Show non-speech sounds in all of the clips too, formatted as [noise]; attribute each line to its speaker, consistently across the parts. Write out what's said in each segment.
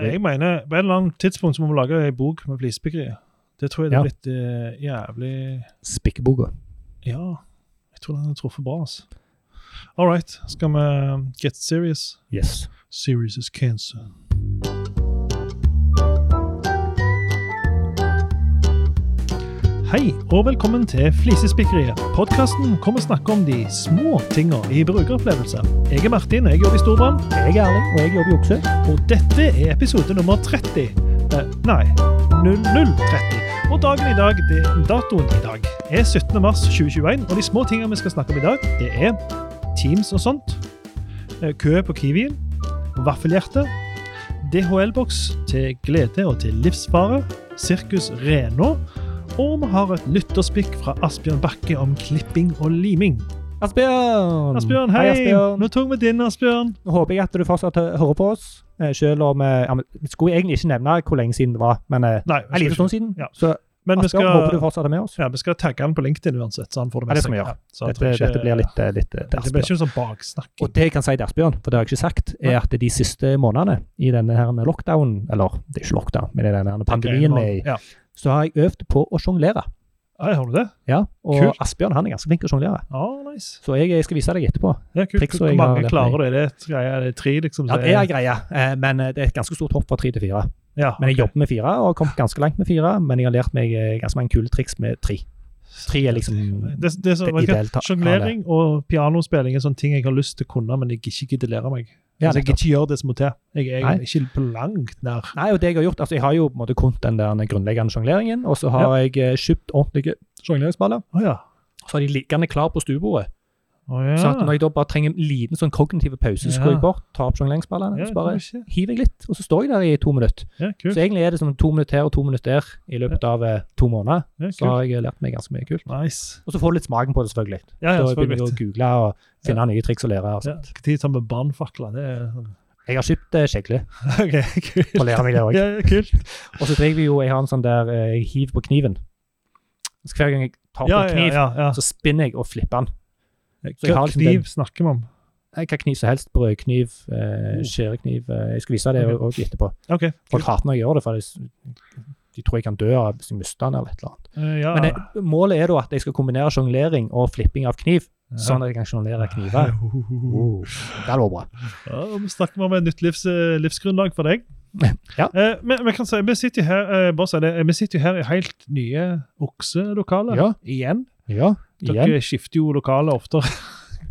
Speaker 1: Jeg mener, på et eller annet tidspunkt så må vi lage ei bok med flisespikkeriet. Det tror jeg det
Speaker 2: Ja.
Speaker 1: er blitt eh, jævlig
Speaker 2: Spikkeboka.
Speaker 1: Ja, jeg tror den har truffet bra, altså. All right, skal vi um, get serious?
Speaker 2: Yes.
Speaker 1: Serious is cancer. Hei, og velkommen til Flisespikkeriet. Podkasten kommer snakke om de små tinga i brukeropplevelse. Jeg er Martin, jeg jobber i Storbrann.
Speaker 2: Jeg er Erling, og jeg jobber i Okse.
Speaker 1: Og dette er episode nummer 30. Eh, nei, 0030. Og dagen i dag, det, datoen i dag, er 17. mars 2021. Og de små tingene vi skal snakke om i dag, det er Teams og sånt, eh, kø på Kiwien, vaffelhjerte, DHL-boks til glede og til livsfare, Sirkus Renå, og vi har et lytterspikk fra Asbjørn Bakke om klipping og liming.
Speaker 2: Asbjørn!
Speaker 1: Asbjørn, hei!
Speaker 2: Asbjørn.
Speaker 1: Nå tok vi din, Asbjørn.
Speaker 2: Nå håper jeg at du fortsatt hører på oss. eh, Selv om eh, ja, men Vi skulle egentlig ikke nevne hvor lenge siden det var, men eh,
Speaker 1: Nei,
Speaker 2: en liten stund siden.
Speaker 1: Ja.
Speaker 2: Så
Speaker 1: men vi
Speaker 2: Asbjørn,
Speaker 1: skal
Speaker 2: håper du fortsatt er med oss.
Speaker 1: Ja, Vi skal tagge han på LinkedIn uansett, så han får det
Speaker 2: Ja,
Speaker 1: med
Speaker 2: det skal vi gjøre.
Speaker 1: så han
Speaker 2: Dette,
Speaker 1: trenger ikke-
Speaker 2: dette blir litt, eh, litt eh, til
Speaker 1: Det blir
Speaker 2: Asbjørn.
Speaker 1: ikke sånn baksnakking.
Speaker 2: Og det jeg kan si til Asbjørn, for det har jeg ikke sagt, er at de siste månedene i denne her lockdown, eller det er ikke lockdown, men i denne her pandemien vi er i,
Speaker 1: Ja.
Speaker 2: så har jeg øvd på å sjonglere.
Speaker 1: Ja, har du det?
Speaker 2: Ja, og
Speaker 1: Kult.
Speaker 2: Asbjørn han er ganske flink til å sjonglere.
Speaker 1: Ja, nice.
Speaker 2: Så jeg, jeg skal vise deg etterpå.
Speaker 1: Det er kult.
Speaker 2: Triks
Speaker 1: Hvor
Speaker 2: og jeg har
Speaker 1: mange
Speaker 2: lært
Speaker 1: klarer du? Er det et greie? Er det tre, liksom?
Speaker 2: Ja,
Speaker 1: så
Speaker 2: det er en greie, eh, men eh, det er et ganske stort hopp fra tre til fire.
Speaker 1: ja,
Speaker 2: Men jeg
Speaker 1: ok.
Speaker 2: jobber med fire, og har kommet ganske langt med fire. Men jeg har lært meg eh, ganske mange kule triks med tre. Tre er liksom
Speaker 1: det, det er så,
Speaker 2: det
Speaker 1: vet du hva?
Speaker 2: ideelt ta-
Speaker 1: Sjonglering og pianospilling er sånne ting jeg har lyst til å kunne, men jeg ikke gidder lære meg.
Speaker 2: Ja,
Speaker 1: altså, jeg
Speaker 2: nettopp.
Speaker 1: gidder ikke gjøre det som må til. Jeg er
Speaker 2: Nei.
Speaker 1: ikke på langt nær.
Speaker 2: Nei, og det jeg har gjort, altså jeg har jo på en måte kunnet den der grunnleggende sjongleringen, og så har jeg eh, kjøpt ordentlige sjongleringsballer.
Speaker 1: Å ja.
Speaker 2: Så har de liggende klar på stuebordet.
Speaker 1: Å ja.
Speaker 2: Så at når jeg da bare trenger en liten sånn kognitiv pause, så
Speaker 1: Ja.
Speaker 2: går jeg bort, tar opp sjongleringsballene,
Speaker 1: ja,
Speaker 2: og så bare
Speaker 1: kanskje.
Speaker 2: hiver jeg litt, og så står jeg der i to minutter.
Speaker 1: Ja,
Speaker 2: Så
Speaker 1: kult.
Speaker 2: egentlig er det sånn to minutter her og to minutter der i løpet av eh, to måneder.
Speaker 1: Ja,
Speaker 2: Så
Speaker 1: kult.
Speaker 2: har jeg eh, lært meg ganske mye kult.
Speaker 1: Nice.
Speaker 2: Og så får du litt smaken på det, selvfølgelig.
Speaker 1: Ja, ja,
Speaker 2: da begynner jeg å
Speaker 1: selvfølgelig.
Speaker 2: google og finne nye triks å lære. Altså.
Speaker 1: Ja, Tid sammen med brannfakler, det er sånn.
Speaker 2: Jeg har kjøpt eh, skjegle
Speaker 1: [laughs] OK, kult.
Speaker 2: for å lære meg det òg.
Speaker 1: [laughs] Ja, ja, kult.
Speaker 2: Og så driver vi jo, jeg har en sånn der eh, jeg hiver på kniven. Så hver gang jeg tar på en kniv,
Speaker 1: ja, ja.
Speaker 2: så spinner jeg og flipper den. Så jeg har
Speaker 1: Hva
Speaker 2: liksom
Speaker 1: kniv
Speaker 2: den-
Speaker 1: snakker vi om?
Speaker 2: Jeg kan kniv som helst. Brødkniv, eh,
Speaker 1: Oh.
Speaker 2: skjærekniv eh, Jeg skal vise deg det
Speaker 1: Ok.
Speaker 2: òg etterpå.
Speaker 1: Ok.
Speaker 2: Folk hater når jeg gjør det, for de, s- de tror jeg kan dø av hvis jeg mister den eller et eller annet.
Speaker 1: Eh, ja.
Speaker 2: Men eh, målet er da at jeg skal kombinere sjonglering og flipping av kniv,
Speaker 1: Ja.
Speaker 2: sånn at jeg kan sjonglere
Speaker 1: [laughs]
Speaker 2: kniver. Oh, det hadde vært bra.
Speaker 1: Ja, og vi snakker om et nytt livs, eh, livsgrunnlag for deg.
Speaker 2: Ja.
Speaker 1: Eh, men vi kan si, vi sitter jo her, eh, bare si det, vi sitter jo her i helt nye okselokaler.
Speaker 2: Ja.
Speaker 1: Igjen.
Speaker 2: Ja,
Speaker 1: Dere
Speaker 2: igjen.
Speaker 1: skifter jo lokale
Speaker 2: [laughs]
Speaker 1: oftere.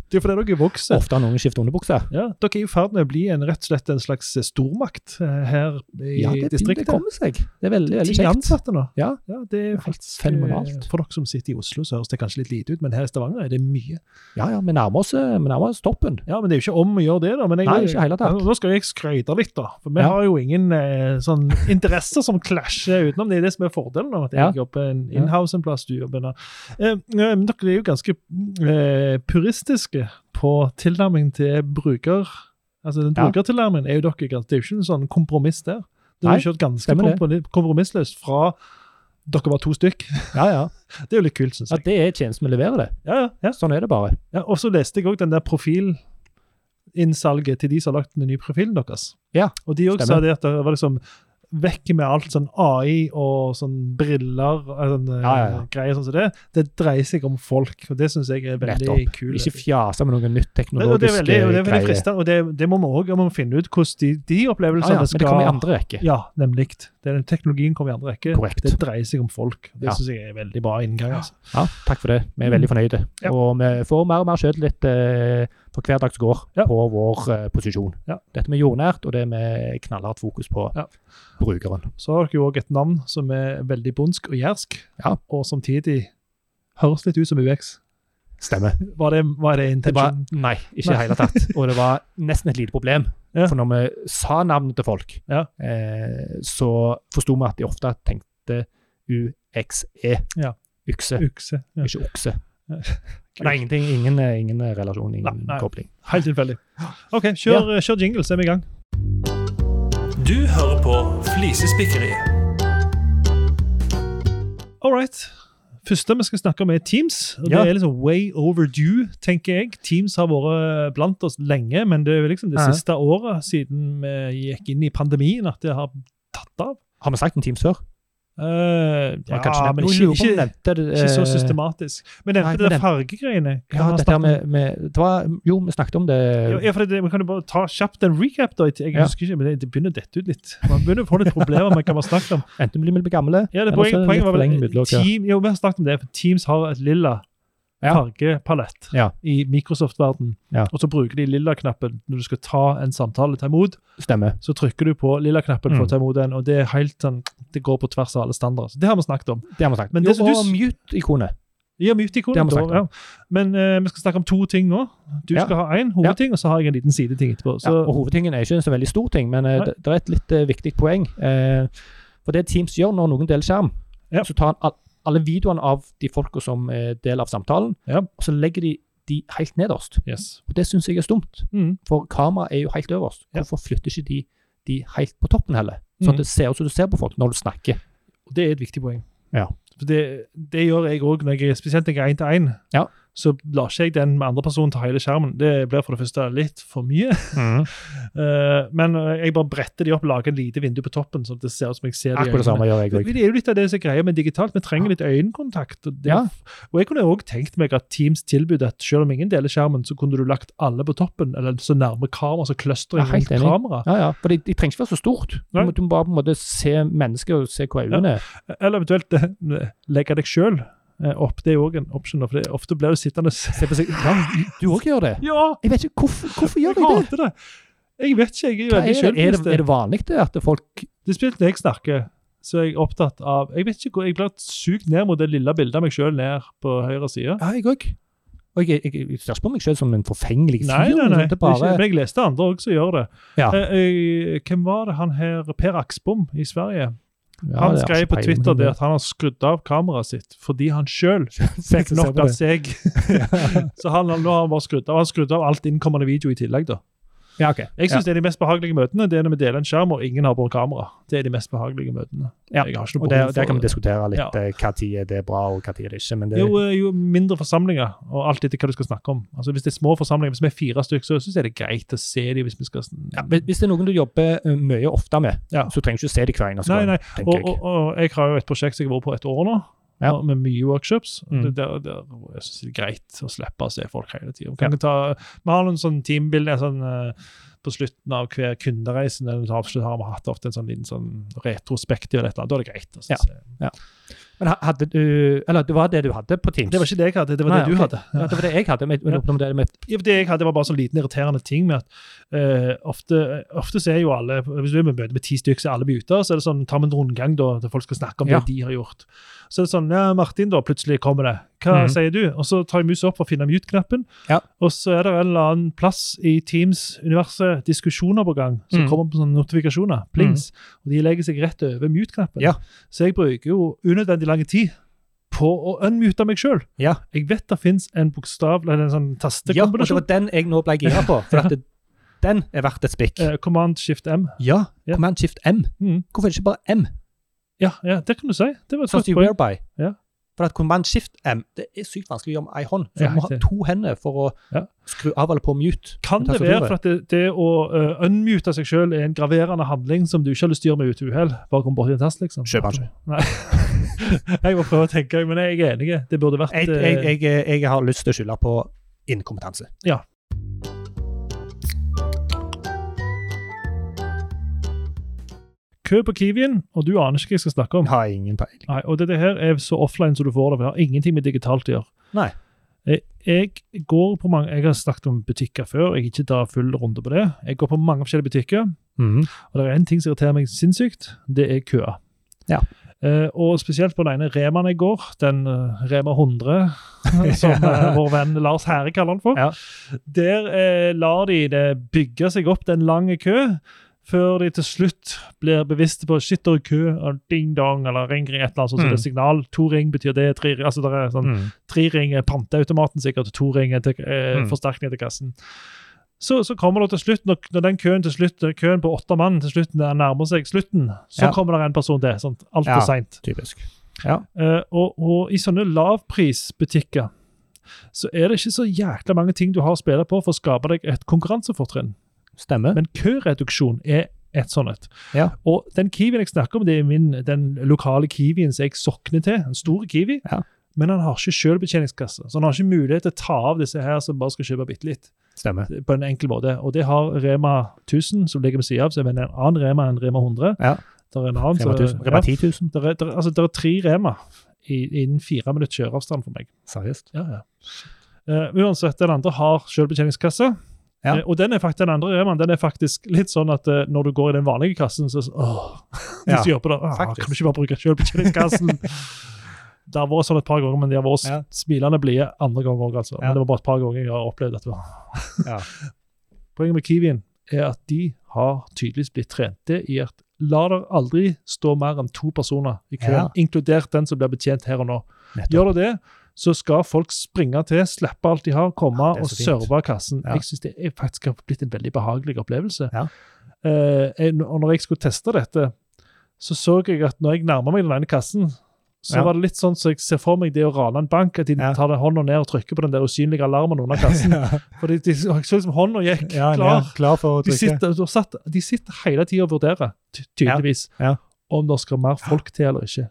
Speaker 1: Det er fordi dere vokser.
Speaker 2: Ofte har noen skifter underbukse.
Speaker 1: Ja, dere er i ferd med å bli en, rett og slett en slags stormakt eh, her i
Speaker 2: Ja, det, det
Speaker 1: distriktet.
Speaker 2: kommer seg. Det er veldig, veldig
Speaker 1: Ti
Speaker 2: kjekt.
Speaker 1: ansatte nå.
Speaker 2: Ja.
Speaker 1: det er
Speaker 2: er helt
Speaker 1: faktisk,
Speaker 2: fenomenalt.
Speaker 1: eh, For dere som sitter i Oslo, så høres det kanskje litt lite ut, men her i Stavanger er det mye.
Speaker 2: Ja, ja, vi nærmer oss, eh, vi nærmer oss toppen.
Speaker 1: Ja, men det er jo ikke om å gjøre det, da. Men jeg,
Speaker 2: Nei, ikke i hele
Speaker 1: Ja,
Speaker 2: tatt.
Speaker 1: Nå skal jeg skryte litt, da. For vi
Speaker 2: Ja.
Speaker 1: har jo ingen eh, sånn interesser som klasjer utenom. Det er det som er fordelen av at jeg
Speaker 2: Ja.
Speaker 1: jobber en inhouse en plass, du jobber en annen. Eh, eh, men dere er jo ganske eh, puristiske på tilnærming til bruker... Altså den
Speaker 2: Ja.
Speaker 1: brukertilnærmingen er jo dere ganske Det er jo ikke en sånn kompromiss der. Det har
Speaker 2: Nei,
Speaker 1: jo kjørt ganske
Speaker 2: stemmer det.
Speaker 1: kompromi- kompromissløst fra dere var to stykk. [laughs]
Speaker 2: Ja, ja.
Speaker 1: Det er jo litt kult, syns
Speaker 2: ja
Speaker 1: jeg.
Speaker 2: det er tjenesten vi leverer det.
Speaker 1: Ja, ja, ja.
Speaker 2: Sånn er det bare.
Speaker 1: Ja, og så leste jeg òg den der profilinnsalget til de som har lagt den nye profilen deres.
Speaker 2: Ja,
Speaker 1: og de òg sa
Speaker 2: stemmer.
Speaker 1: det at det var liksom Vekk med alt sånn AI og sånn briller og sånn eh,
Speaker 2: Ja, ja, ja.
Speaker 1: greier sånn som det. Det dreier seg om folk, og det syns jeg er veldig
Speaker 2: Nettopp.
Speaker 1: kult.
Speaker 2: Ikke fjase med noen nytt
Speaker 1: Nei, og det er
Speaker 2: teknologisk
Speaker 1: veldig, og det
Speaker 2: eh,
Speaker 1: er veldig
Speaker 2: greie.
Speaker 1: fristende, og det, det må vi òg finne ut hvordan de, de
Speaker 2: Ja, Ah, ja,
Speaker 1: opplevelsene
Speaker 2: men det kommer i
Speaker 1: skal
Speaker 2: andre rekke.
Speaker 1: Ja, nemlig. Det er den teknologien kommer i andre rekke.
Speaker 2: Korrekt.
Speaker 1: Det dreier seg om folk. Det
Speaker 2: Ja.
Speaker 1: syns jeg er veldig bra inngang. altså.
Speaker 2: Ja, takk for det. Vi er veldig fornøyde.
Speaker 1: Mm. Ja.
Speaker 2: Og vi får mer og mer selvtillit eh, for hver dag som går
Speaker 1: Ja.
Speaker 2: på vår eh, posisjon.
Speaker 1: Ja.
Speaker 2: Dette med jordnært, og det med knallhardt fokus på
Speaker 1: Ja.
Speaker 2: brukeren.
Speaker 1: så har dere jo òg et navn som er veldig bondsk og jærsk,
Speaker 2: Ja.
Speaker 1: og samtidig høres litt ut som UX.
Speaker 2: Stemmer.
Speaker 1: Var det, var det
Speaker 2: Det var,
Speaker 1: intensjonen?
Speaker 2: nei, ikke i
Speaker 1: Nei.
Speaker 2: det hele tatt. Og det var nesten et lite problem.
Speaker 1: [laughs] Ja.
Speaker 2: For når vi sa navnet til folk,
Speaker 1: Ja.
Speaker 2: eh, så forsto vi at de ofte tenkte UXE.
Speaker 1: Ja.
Speaker 2: Ukse,
Speaker 1: Ukse. Ja.
Speaker 2: ikke okse. [laughs]
Speaker 1: Nei.
Speaker 2: Det er ingenting, ingen, ingen relasjon, ingen
Speaker 1: Nei, nei.
Speaker 2: kobling.
Speaker 1: Helt tilfeldig. OK, kjør, eh, kjør jingle, så er vi i gang.
Speaker 3: Du hører på Flisespikkeriet.
Speaker 1: All right. første vi skal snakke om, er Teams. og Det
Speaker 2: Ja.
Speaker 1: er liksom way overdue, tenker jeg. Teams har vært eh, blant oss lenge, men det er liksom det
Speaker 2: Ja.
Speaker 1: siste året siden vi gikk inn i pandemien at det har tatt av.
Speaker 2: Har vi sagt en Teams før?
Speaker 1: Eh,
Speaker 2: Man kan ikke nevne-
Speaker 1: men
Speaker 2: Jo, jeg
Speaker 1: ikke,
Speaker 2: lurer på om vi
Speaker 1: ikke,
Speaker 2: nevnte det,
Speaker 1: ikke så
Speaker 2: eh,
Speaker 1: systematisk. Men nevnte
Speaker 2: Nei,
Speaker 1: det
Speaker 2: men
Speaker 1: der
Speaker 2: den-
Speaker 1: fargegreiene. Kan
Speaker 2: Ja,
Speaker 1: man
Speaker 2: dette
Speaker 1: snakke
Speaker 2: her
Speaker 1: om-
Speaker 2: med, med det var, Jo, vi snakket om det.
Speaker 1: Ja, ja, for det, man kan jo bare ta kjapt en recap. da. Jeg
Speaker 2: Ja.
Speaker 1: husker ikke, men det, det begynner å dette ut litt. Man begynner å få litt problemer med hva man snakker om.
Speaker 2: Enten blir vi gamle,
Speaker 1: Ja, det
Speaker 2: eller
Speaker 1: poenget,
Speaker 2: så er det
Speaker 1: poenget
Speaker 2: litt
Speaker 1: var
Speaker 2: for
Speaker 1: vel
Speaker 2: lenge mellom hver.
Speaker 1: team, jo, vi har snakket om det, for Teams har et lilla
Speaker 2: Ja.
Speaker 1: fargepalett
Speaker 2: Ja.
Speaker 1: i Microsoft-verden.
Speaker 2: Ja.
Speaker 1: Og så bruker de lilla-knappen når du skal ta en samtale, ta imot.
Speaker 2: Stemmer.
Speaker 1: Så trykker du på lilla-knappen for
Speaker 2: Mm.
Speaker 1: å ta imot den, og det er helt sånn, det går på tvers av alle standarder. Så det har vi snakket om.
Speaker 2: Det har vi sagt.
Speaker 1: Men
Speaker 2: jo,
Speaker 1: det som du
Speaker 2: og
Speaker 1: s-
Speaker 2: mute-ikonet.
Speaker 1: Ja, mute-ikonet,
Speaker 2: Det har vi
Speaker 1: da,
Speaker 2: snakket om.
Speaker 1: Ja. Men eh, vi skal snakke om to ting nå. Du
Speaker 2: Ja.
Speaker 1: skal ha én hovedting, og så har jeg en liten sideting etterpå.
Speaker 2: Ja,
Speaker 1: Så,
Speaker 2: og hovedtingen er ikke en så veldig stor ting, men eh,
Speaker 1: Nei.
Speaker 2: det, det er et litt eh, viktig poeng. Eh, for det Teams gjør når noen deler skjerm,
Speaker 1: Ja.
Speaker 2: så tar han all, alle videoene av de folka som er del av samtalen,
Speaker 1: Ja.
Speaker 2: og så legger de de helt nederst.
Speaker 1: yes.
Speaker 2: Og det syns jeg er stumt,
Speaker 1: Mm.
Speaker 2: for kameraet er jo helt øverst.
Speaker 1: Ja.
Speaker 2: Hvorfor flytter ikke de de helt på toppen heller? Sånn
Speaker 1: Mhm.
Speaker 2: at det ser ut som du ser på folk når du snakker.
Speaker 1: Og det er et viktig poeng.
Speaker 2: Ja.
Speaker 1: For det, det gjør jeg òg, spesielt når jeg er én til én.
Speaker 2: Ja.
Speaker 1: Så lar ikke jeg den med andre personen ta hele skjermen. Det blir for det første litt for mye. [laughs] Eh, men eh, jeg bare bretter de opp, lager et lite vindu på toppen, sånn at det ser ut som jeg ser de
Speaker 2: Akkurat det samme gjør jeg
Speaker 1: Det
Speaker 2: òg.
Speaker 1: det er jo litt av det som er greia med digitalt. Vi trenger litt øyekontakt. Og, det,
Speaker 2: Ja.
Speaker 1: og jeg kunne òg tenkt meg at Teams tilbød at selv om ingen deler skjermen, så kunne du lagt alle på toppen, eller så nærme kamera, så clustring
Speaker 2: Ja, helt
Speaker 1: rundt
Speaker 2: enig.
Speaker 1: kamera.
Speaker 2: Ja, ja, for det, det trenger ikke være så stort. Du
Speaker 1: Nei.
Speaker 2: må, du må bare på en måte se mennesker og se hvor øynene er.
Speaker 1: Eller eventuelt eh, legge deg sjøl opp. Det er jo òg en option, for det, ofte blir du sittende
Speaker 2: Se på seg. Ja, du òg gjør det.
Speaker 1: [laughs] Ja!
Speaker 2: Jeg vet ikke, Hvorfor, hvorfor
Speaker 1: Jeg
Speaker 2: gjør de det?
Speaker 1: hater det. Jeg vet ikke. Jeg er
Speaker 2: Hva
Speaker 1: veldig
Speaker 2: er, det, er, det, er
Speaker 1: sjølbevisst.
Speaker 2: det vanlig det at folk
Speaker 1: Det er spesielt når jeg snakker, så er jeg opptatt av Jeg vet ikke hvor, jeg blir sugd ned mot det lille bildet av meg sjøl ned på høyre side.
Speaker 2: Ja, jeg òg. Og jeg, jeg, jeg ser ikke på meg selv som en forfengelig fyr.
Speaker 1: Nei, nei,
Speaker 2: men
Speaker 1: nei. Det
Speaker 2: Det er bare,
Speaker 1: ikke, men jeg leste andre òg som gjør det.
Speaker 2: Ja.
Speaker 1: Eh, eh, hvem var det han her Per Aksbom i Sverige?
Speaker 2: Ja,
Speaker 1: han
Speaker 2: det er
Speaker 1: skrev
Speaker 2: altså
Speaker 1: på
Speaker 2: peiling,
Speaker 1: Twitter
Speaker 2: men [laughs]
Speaker 1: [laughs] det at han har skrudd av kameraet sitt fordi han sjøl fikk
Speaker 2: Så ser
Speaker 1: nok altså.
Speaker 2: vi
Speaker 1: av
Speaker 2: det.
Speaker 1: seg.
Speaker 2: [laughs]
Speaker 1: så han, nå har han bare skrudd av. Han skrudde av alt innkommende video i tillegg, da.
Speaker 2: Ja, ok.
Speaker 1: Jeg syns det er de mest behagelige møtene det er når vi deler en skjerm og ingen har på kamera. Det er de mest behagelige møtene.
Speaker 2: Ja,
Speaker 1: Jeg har ikke
Speaker 2: ja.
Speaker 1: noe
Speaker 2: Og der,
Speaker 1: behov
Speaker 2: der
Speaker 1: for
Speaker 2: kan vi
Speaker 1: det.
Speaker 2: diskutere litt
Speaker 1: Ja.
Speaker 2: eh, hva tid er det bra, og hva tid er det ikke. Men det,
Speaker 1: Jo, eh, jo mindre forsamlinger, og alt etter hva du skal snakke om. Altså Hvis det er små forsamlinger, hvis vi er fire stykker, så syns jeg det er greit å se dem. hvis vi skal... sn-
Speaker 2: ja, hvis hvis det er noen du jobber eh, mye ofte med,
Speaker 1: Ja.
Speaker 2: så trenger du ikke se det hver eneste
Speaker 1: Nei,
Speaker 2: gang.
Speaker 1: nei. Og,
Speaker 2: tenker
Speaker 1: og,
Speaker 2: jeg.
Speaker 1: og jeg har jo et prosjekt som jeg har vært på et år nå,
Speaker 2: Ja.
Speaker 1: og med mye workshops. og
Speaker 2: Mm.
Speaker 1: Det, der, der, jeg synes det er greit å slippe å se folk hele tida. Vi, kan ta, vi har noen sånn teambilde en sånn, eh, på slutten av hver kundereise. Når vi avslutter, har vi hatt ofte en sånn liten sånn retrospektiv. eller et eller annet. Da er det greit. å
Speaker 2: Ja.
Speaker 1: se.
Speaker 2: Men ha- hadde du Eller det var det du hadde på Teams?
Speaker 1: Det var ikke det jeg hadde, det var
Speaker 2: Nei,
Speaker 1: det du
Speaker 2: ok.
Speaker 1: hadde.
Speaker 2: ja, det, var det jeg hadde. men jeg lurer på om det er med,
Speaker 1: Ja, for Det jeg hadde var bare sånn liten irriterende ting med at eh, ofte, ofte så er jo alle Hvis du er med møte med ti stykker, så er alle muta. Så er det sånn, tar vi en rundgang da, der folk skal snakke om
Speaker 2: Ja.
Speaker 1: det de har gjort. Så er det sånn Ja, Martin, da. Plutselig kommer det. Hva
Speaker 2: Mhm.
Speaker 1: sier du? Og så tar jeg musa opp for å finne mute-knappen.
Speaker 2: Ja.
Speaker 1: Og så er det en eller annen plass i Teams-universet diskusjoner på gang som
Speaker 2: Mhm.
Speaker 1: kommer på sånne notifikasjoner. Plings. Og de legger seg rett over mute-knappen.
Speaker 2: Ja.
Speaker 1: Så jeg bruker jo unødvendig lang tid på å unmute meg sjøl.
Speaker 2: ja.
Speaker 1: Jeg vet det fins en bokstav eller en sånn
Speaker 2: ja, og det
Speaker 1: tastekombinasjon.
Speaker 2: var den jeg nå ble gira på. For at det, den er verdt et spikk.
Speaker 1: Eh, Command Shift M.
Speaker 2: Ja.
Speaker 1: Ja.
Speaker 2: Command Shift M.
Speaker 1: Mm.
Speaker 2: Hvorfor er det ikke bare M?
Speaker 1: Ja, ja, det kan du si. Det var et
Speaker 2: Sånn
Speaker 1: godt
Speaker 2: som i
Speaker 1: poeng.
Speaker 2: Whereby.
Speaker 1: Ja.
Speaker 2: For at Command Shift M det er sykt vanskelig å gjøre med ei hånd. Så
Speaker 1: Ja,
Speaker 2: du må ha
Speaker 1: riktig.
Speaker 2: to hender for å
Speaker 1: Ja.
Speaker 2: skru av eller på mute.
Speaker 1: Kan
Speaker 2: med
Speaker 1: det være
Speaker 2: tastaturet.
Speaker 1: for at det, det å eh, unmute seg sjøl er en graverende handling som du ikke har lyst til å gjøre med ut i uhell? Bare kom borti en tast, liksom?
Speaker 2: Kjøp den ikke.
Speaker 1: Nei. [laughs] jeg må prøve å tenke, men jeg er enig. Det burde vært
Speaker 2: Jeg,
Speaker 1: eh,
Speaker 2: jeg, jeg, jeg har lyst til å skylde på inkompetanse.
Speaker 1: kø på Kiwien, og du aner ikke hva jeg skal snakke om.
Speaker 2: Jeg har ingen peiling.
Speaker 1: Nei, og dette her er så offline som du får det. for Det har ingenting med digitalt å gjøre.
Speaker 2: Nei.
Speaker 1: Jeg, jeg går på mange, jeg har snakket om butikker før, jeg er ikke tar full runde på det. Jeg går på mange forskjellige butikker,
Speaker 2: Mhm.
Speaker 1: og det er en ting som irriterer meg sinnssykt, det er køer.
Speaker 2: Ja.
Speaker 1: Eh, og spesielt på den ene Remaen jeg går, den eh, Rema
Speaker 2: [laughs]
Speaker 1: 100, som eh, vår venn Lars Herre kaller den for.
Speaker 2: Ja.
Speaker 1: Der eh, lar de det bygge seg opp til en lang kø, før de til slutt blir bevisste på shit, det er kø, og ding-dong, eller ring-ring, et eller annet sånt som
Speaker 2: Mm.
Speaker 1: det er signal. To ring betyr det, tre ring Altså det er sånn
Speaker 2: Mm.
Speaker 1: tre ringer panteautomaten sikkert, og to ringer til, eh,
Speaker 2: Mm.
Speaker 1: forsterkning til kassen. Så, så kommer det til slutt, når, når den køen til slutt, når køen på åtte mann til slutt når den nærmer seg slutten, så
Speaker 2: Ja.
Speaker 1: kommer det en person til. Sant? Alt
Speaker 2: Ja.
Speaker 1: for seint.
Speaker 2: Typisk. Ja.
Speaker 1: Eh, og, og i sånne lavprisbutikker så er det ikke så jækla mange ting du har å spille på for å skape deg et konkurransefortrinn.
Speaker 2: Stemmer.
Speaker 1: Men køreduksjon er et sånt et.
Speaker 2: Ja.
Speaker 1: Og den kiwien jeg snakker om, det er min, den lokale kiwien som jeg sokner til. En stor kiwi.
Speaker 2: Ja.
Speaker 1: Men han har ikke selvbetjeningskasse, så han har ikke mulighet til å ta av disse her som bare skal kjøpe bitte litt.
Speaker 2: Stemmer.
Speaker 1: På en enkel måte. Og det har Rema 1000, som ligger ved siden av, så er det en annen Rema enn Rema 100.
Speaker 2: Ja.
Speaker 1: Der er en annen,
Speaker 2: Rema
Speaker 1: så-
Speaker 2: 1000. Rema 10 000.
Speaker 1: Ja, der er, der, altså, der er tre Rema i- innen fire minutter kjøreavstand for meg.
Speaker 2: Seriøst.
Speaker 1: Ja, ja. Eh, uansett, den andre har selvbetjeningskasse.
Speaker 2: Ja.
Speaker 1: Eh, og den er faktisk den andre Remaen, den er faktisk litt sånn at eh, når du går i den vanlige kassen, så er det sånn, åh, [laughs]
Speaker 2: Ja,
Speaker 1: hvis du gjør på det, åh,
Speaker 2: faktisk.
Speaker 1: kan du ikke bare bruke
Speaker 2: [laughs]
Speaker 1: selvbetjeningskassen? det har vært sånn et par ganger, men de har vært
Speaker 2: Ja.
Speaker 1: smilende blide andre ganger òg, altså.
Speaker 2: Ja.
Speaker 1: Men det var bare et par ganger jeg har opplevd dette.
Speaker 2: Ja.
Speaker 1: [laughs] Poenget med Kiwien er at de har tydeligvis blitt trente i at la det aldri stå mer enn to personer i køen,
Speaker 2: Ja.
Speaker 1: inkludert den som blir betjent her og nå.
Speaker 2: Nettopp.
Speaker 1: Gjør du det, så skal folk springe til, slippe alt de har, komme
Speaker 2: Ja, det er
Speaker 1: og
Speaker 2: så fint.
Speaker 1: serve kassen.
Speaker 2: Ja.
Speaker 1: Jeg syns det er faktisk har blitt en veldig behagelig opplevelse.
Speaker 2: Ja.
Speaker 1: Eh, jeg, og når jeg skulle teste dette, så så jeg at når jeg nærmer meg den ene kassen, så
Speaker 2: Ja.
Speaker 1: var det litt sånn som jeg ser for meg det å rane en bank, at de
Speaker 2: Ja.
Speaker 1: tar den hånda ned og trykker på den der usynlige alarmen under kassen.
Speaker 2: [laughs]
Speaker 1: Fordi de så liksom hånda gikk
Speaker 2: Ja,
Speaker 1: klar.
Speaker 2: ja, klar for å
Speaker 1: De
Speaker 2: trykke.
Speaker 1: sitter, de satt, de sitter hele tida og vurderer, ty tydeligvis,
Speaker 2: Ja, ja.
Speaker 1: om det skal mer folk til eller ikke.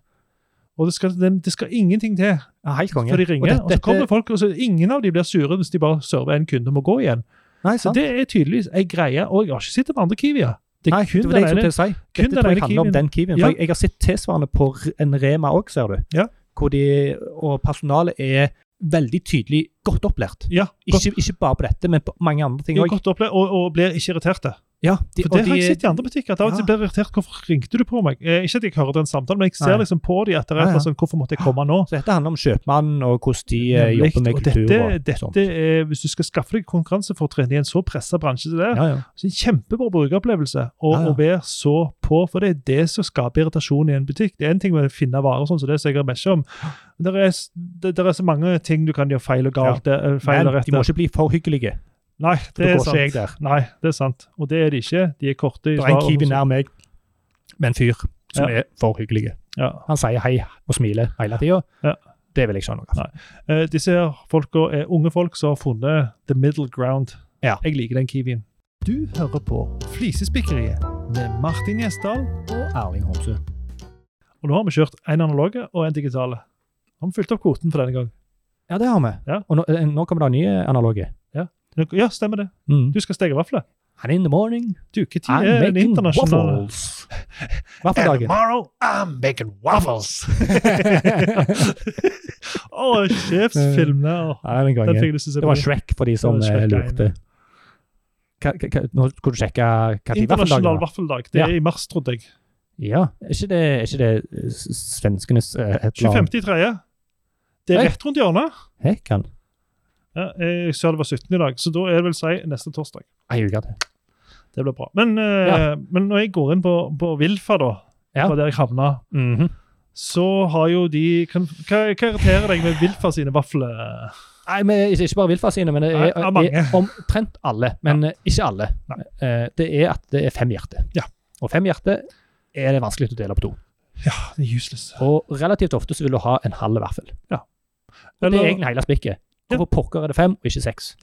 Speaker 1: Og det skal, det, det skal ingenting til
Speaker 2: Ja, helt konge.
Speaker 1: for de ringer, og,
Speaker 2: Og dette-
Speaker 1: så kommer
Speaker 2: dette-
Speaker 1: folk, og så ingen av de blir sure hvis de bare server en kunde og må gå igjen.
Speaker 2: Nei,
Speaker 1: Så
Speaker 2: sant.
Speaker 1: det er tydeligvis ei greie, og jeg har ikke sett det på andre Kiwier. Det er
Speaker 2: Nei,
Speaker 1: kun
Speaker 2: det var det jeg
Speaker 1: den
Speaker 2: skulle
Speaker 1: ene.
Speaker 2: til å si.
Speaker 1: kun den
Speaker 2: Dette tror jeg
Speaker 1: ene
Speaker 2: handler om
Speaker 1: kiwien.
Speaker 2: den kiwien.
Speaker 1: Ja.
Speaker 2: For jeg, jeg har sett tilsvarende på r- en Rema òg, ser du.
Speaker 1: Ja.
Speaker 2: Hvor de, og personalet er veldig tydelig godt opplært.
Speaker 1: Ja, godt,
Speaker 2: Ikke, ikke bare på dette, men på mange andre ting
Speaker 1: de er
Speaker 2: òg.
Speaker 1: godt opplevd, og, og blir ikke irriterte.
Speaker 2: Ja, de-
Speaker 1: For
Speaker 2: og
Speaker 1: det har jeg
Speaker 2: de-
Speaker 1: sett i andre butikker. at Av og til
Speaker 2: Ja.
Speaker 1: blir jeg irritert. Hvorfor ringte du på meg? Eh, ikke at jeg hører den samtalen, men jeg ser
Speaker 2: Nei.
Speaker 1: liksom på de at det er
Speaker 2: Ja, ja.
Speaker 1: noe sånn, hvorfor måtte jeg komme nå?
Speaker 2: Så dette handler om kjøpmannen og hvordan de eh,
Speaker 1: Nemlig.
Speaker 2: jobber med
Speaker 1: og dette,
Speaker 2: kultur. og sånn. sånt.
Speaker 1: dette er, hvis du skal skaffe deg konkurransefortrinn i en så pressa bransje som det er,
Speaker 2: Ja, ja.
Speaker 1: så er det en kjempebra brukeropplevelse å,
Speaker 2: Ja, ja.
Speaker 1: å være så på, for det er det som skaper irritasjon i en butikk. Det er en ting med å finne varer, sånn som det som jeg har mest om. Det er, s- det, det er så mange ting du kan gjøre feil og galt. det er Feil
Speaker 2: Men
Speaker 1: og rett.
Speaker 2: de må ikke bli for hyggelige.
Speaker 1: Nei,
Speaker 2: for
Speaker 1: det
Speaker 2: Da
Speaker 1: er
Speaker 2: går ikke jeg
Speaker 1: sant.
Speaker 2: der.
Speaker 1: Nei, det er sant. Og det er de ikke. De er korte i
Speaker 2: Det er en
Speaker 1: svaret,
Speaker 2: kiwi
Speaker 1: sånn som-
Speaker 2: nær meg med en fyr som er for hyggelig.
Speaker 1: Ja.
Speaker 2: Han sier hei og smiler hele tida.
Speaker 1: Ja.
Speaker 2: Det vil jeg altså. ikke ha noe av.
Speaker 1: Eh, disse her folka er unge folk som har funnet the middle ground.
Speaker 2: Ja.
Speaker 1: Jeg liker den kiwien. Du hører på Flisespikkeriet med Martin Gjesdal.
Speaker 2: Og Erling Homsø.
Speaker 1: Og nå har vi kjørt en analoge og en digitale. Nå har vi fylt opp kvoten for denne gang.
Speaker 2: Ja, det har vi.
Speaker 1: Ja.
Speaker 2: Og nå, eh, nå kommer det nye analoge.
Speaker 1: Ja, stemmer det. Du skal steke vafler.
Speaker 2: And in the morning,
Speaker 1: Du, når Mm.
Speaker 2: I'm
Speaker 1: er den
Speaker 2: making
Speaker 1: internasjonale
Speaker 2: waffles.
Speaker 1: [laughs]
Speaker 2: Ah. Vaffeldagen. [laughs]
Speaker 3: tomorrow, I'm making waffles.
Speaker 1: Å, sjefsfilmene! å.
Speaker 2: Ja, den
Speaker 1: Den
Speaker 2: gangen.
Speaker 1: fikk jeg lyst til å se
Speaker 2: Eh, Det
Speaker 1: på.
Speaker 2: var Shrek for de som
Speaker 1: Det var
Speaker 2: eh,
Speaker 1: Shrek-greiene.
Speaker 2: lurte. Hva- hva- hva- Nå skulle du sjekke når vaffeldagen
Speaker 1: Internasjonal
Speaker 2: var.
Speaker 1: vaffeldag. Det er i mars, trodde jeg.
Speaker 2: Ja, er ikke det, er ikke det eh, s- svenskenes eh, et eller annet
Speaker 1: 25.3. Det er
Speaker 2: Hei.
Speaker 1: rett rundt hjørnet.
Speaker 2: Hekan?
Speaker 1: Ja, jeg sa det var 17 i dag, så da er det vel si neste torsdag.
Speaker 2: Ei uke til.
Speaker 1: Det blir bra. Men, eh, men når jeg går inn på, på Vilfa, da,
Speaker 2: Ja.
Speaker 1: fra der jeg havna,
Speaker 2: Mhm.
Speaker 1: så har jo de kan, hva, hva irriterer deg med Vilfa sine vafler?
Speaker 2: Nei, men ikke, ikke bare Vilfa sine, men det er,
Speaker 1: Nei, av mange.
Speaker 2: er omtrent alle. Men eh, ikke alle.
Speaker 1: Nei.
Speaker 2: Eh, det er at det er fem hjerter.
Speaker 1: Ja.
Speaker 2: Og fem hjerter er det vanskelig å dele på to.
Speaker 1: Ja, det er useless.
Speaker 2: Og relativt ofte så vil du ha en halv vaffel. Og det er egentlig hele spikket.
Speaker 1: Ja.
Speaker 2: Hvorfor pokker er det fem, og ikke seks?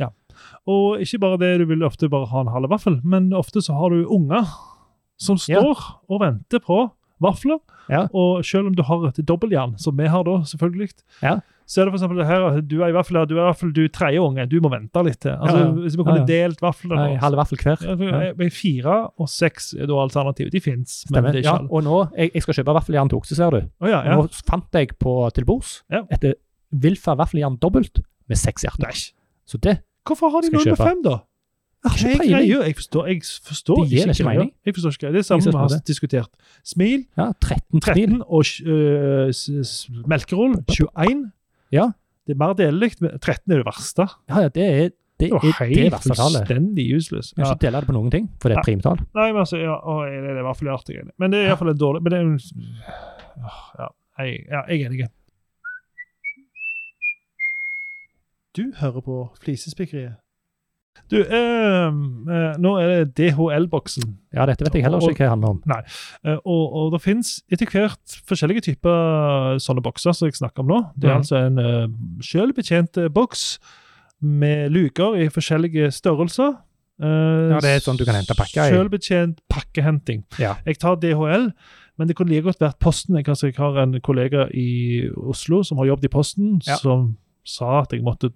Speaker 1: og ikke bare det, du vil ofte bare ha en halv vaffel, men ofte så har du unger som
Speaker 2: Ja.
Speaker 1: står og venter på vafler.
Speaker 2: Ja.
Speaker 1: Og selv om du har et dobbeltjern, som vi har da, selvfølgelig,
Speaker 2: Ja.
Speaker 1: så er det for eksempel det her at du er i vaffel, her, du er i vaffel, du er tredje unge, du må vente litt til. Altså,
Speaker 2: Ja, ja.
Speaker 1: Hvis vi kunne
Speaker 2: Ja, ja.
Speaker 1: delt vaflene
Speaker 2: Nei, halv vaffel hver.
Speaker 1: Ja, for-
Speaker 2: Ja.
Speaker 1: men Fire og seks er da alternativet. De fins, men
Speaker 2: Stemmer.
Speaker 1: det er ikke
Speaker 2: Ja,
Speaker 1: alle.
Speaker 2: og nå, jeg, jeg skal kjøpe vaffeljern til okse, ser du.
Speaker 1: Å, ja, ja.
Speaker 2: Nå fant jeg på tilbords
Speaker 1: Ja.
Speaker 2: et Vilfa vaffeljern dobbelt med seks hjerter. Så det
Speaker 1: Hvorfor har de
Speaker 2: Skal
Speaker 1: noen
Speaker 2: jeg
Speaker 1: med
Speaker 2: kjøpe?
Speaker 1: fem, da?
Speaker 2: har
Speaker 1: Hva er
Speaker 2: ikke peiling.
Speaker 1: greia? Ah, Jeg forstår, jeg forstår
Speaker 2: Det gir ikke
Speaker 1: greia.
Speaker 2: mening.
Speaker 1: Jeg forstår ikke greia. Det er det samme
Speaker 2: Ingen
Speaker 1: vi har
Speaker 2: forstår
Speaker 1: diskutert. Smil,
Speaker 2: Ja, 13 smil.
Speaker 1: 13 og øh, s- s- melkerull, 21.
Speaker 2: Ja.
Speaker 1: Det er mer delelig, men 13 er det verste.
Speaker 2: Ja, ja, det er det,
Speaker 1: Det var
Speaker 2: er det
Speaker 1: helt
Speaker 2: verste tallet.
Speaker 1: fullstendig useless.
Speaker 2: Du kan
Speaker 1: Ja.
Speaker 2: ikke dele det på noen ting, for det er
Speaker 1: Nei.
Speaker 2: et primtall.
Speaker 1: Nei, men altså, ja, å, det er i hvert fall artig. greier. Men det er i hvert fall en dårlig men det er, jo- Åh, ja, jeg, ja, jeg er enig. Du hører på Flisespikkeriet Du, ehm, eh, nå er det DHL-boksen.
Speaker 2: Ja, dette vet jeg heller ikke hva det handler om.
Speaker 1: Eh, og, og det finnes etter hvert forskjellige typer sånne bokser som jeg snakker om nå. Det er
Speaker 2: Mhm.
Speaker 1: altså en eh, selvbetjent eh, boks med luker i forskjellige størrelser. Eh,
Speaker 2: Ja, det er sånn du kan hente pakker i.
Speaker 1: Selvbetjent pakkehenting.
Speaker 2: Ja.
Speaker 1: Jeg tar DHL, men det kunne like godt vært Posten. Jeg, altså, jeg har en kollega i Oslo som har jobbet i Posten,
Speaker 2: Ja.
Speaker 1: som sa at jeg måtte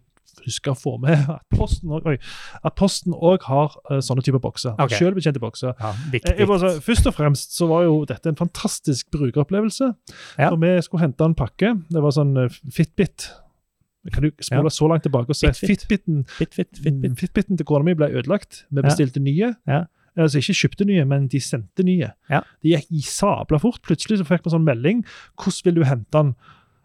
Speaker 1: huske å få med at Posten også- oi, at Posten òg har eh, sånne typer bokser.
Speaker 2: Ok.
Speaker 1: Selvbetjente bokser.
Speaker 2: Ja,
Speaker 1: Jeg jeg
Speaker 2: viktig.
Speaker 1: bare, sa, først og fremst så var jo dette en fantastisk brukeropplevelse.
Speaker 2: Ja.
Speaker 1: Når vi skulle hente en pakke, det var sånn eh, Fitbit Kan du spole
Speaker 2: Ja.
Speaker 1: så langt tilbake og se
Speaker 2: Fitbit.
Speaker 1: Fitbiten, mm,
Speaker 2: Fit, fit, fit, fit.
Speaker 1: Fitbiten til kona mi ble ødelagt. Vi bestilte nye.
Speaker 2: Ja.
Speaker 1: Altså ikke kjøpte nye, men de sendte nye.
Speaker 2: Ja.
Speaker 1: De gikk i sabla fort. Plutselig så fikk vi sånn melding. 'Hvordan vil du hente den?'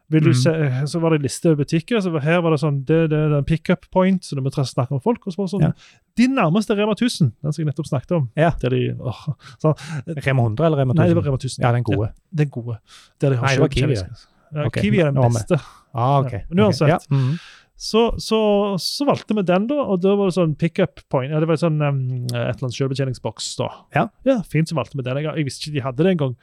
Speaker 1: Vil du
Speaker 2: Mhm.
Speaker 1: se, eh, så var det en liste over butikker. så var- Her var det sånn det, det, det er en pickup point, så du må tra- snakke med folk. og så var det sånn,
Speaker 2: Ja.
Speaker 1: Din nærmeste Rema 1000, den som jeg nettopp snakket om.
Speaker 2: Ja.
Speaker 1: Der de, åh,
Speaker 2: Rema 100 eller Rema
Speaker 1: Mm.
Speaker 2: 1000?
Speaker 1: Nei, det var Rema 1000.
Speaker 2: Ja, den gode.
Speaker 1: Den gode. Der de har
Speaker 2: Nei, det var
Speaker 1: kjøpt
Speaker 2: Kiwi,
Speaker 1: kjemisk. Ja,
Speaker 2: Ok,
Speaker 1: Kiwi er den
Speaker 2: nå har vi-
Speaker 1: beste.
Speaker 2: Ah, ok.
Speaker 1: Ja, men uansett.
Speaker 2: Ok, Ja. mhm.
Speaker 1: Så, så, så valgte vi den, da. Og da var det sånn pickup point. Ja, det var sånn um, et eller annet selvbetjeningsboks, da.
Speaker 2: Ja.
Speaker 1: Fint, så valgte vi den. Jeg, jeg visste ikke de hadde det engang.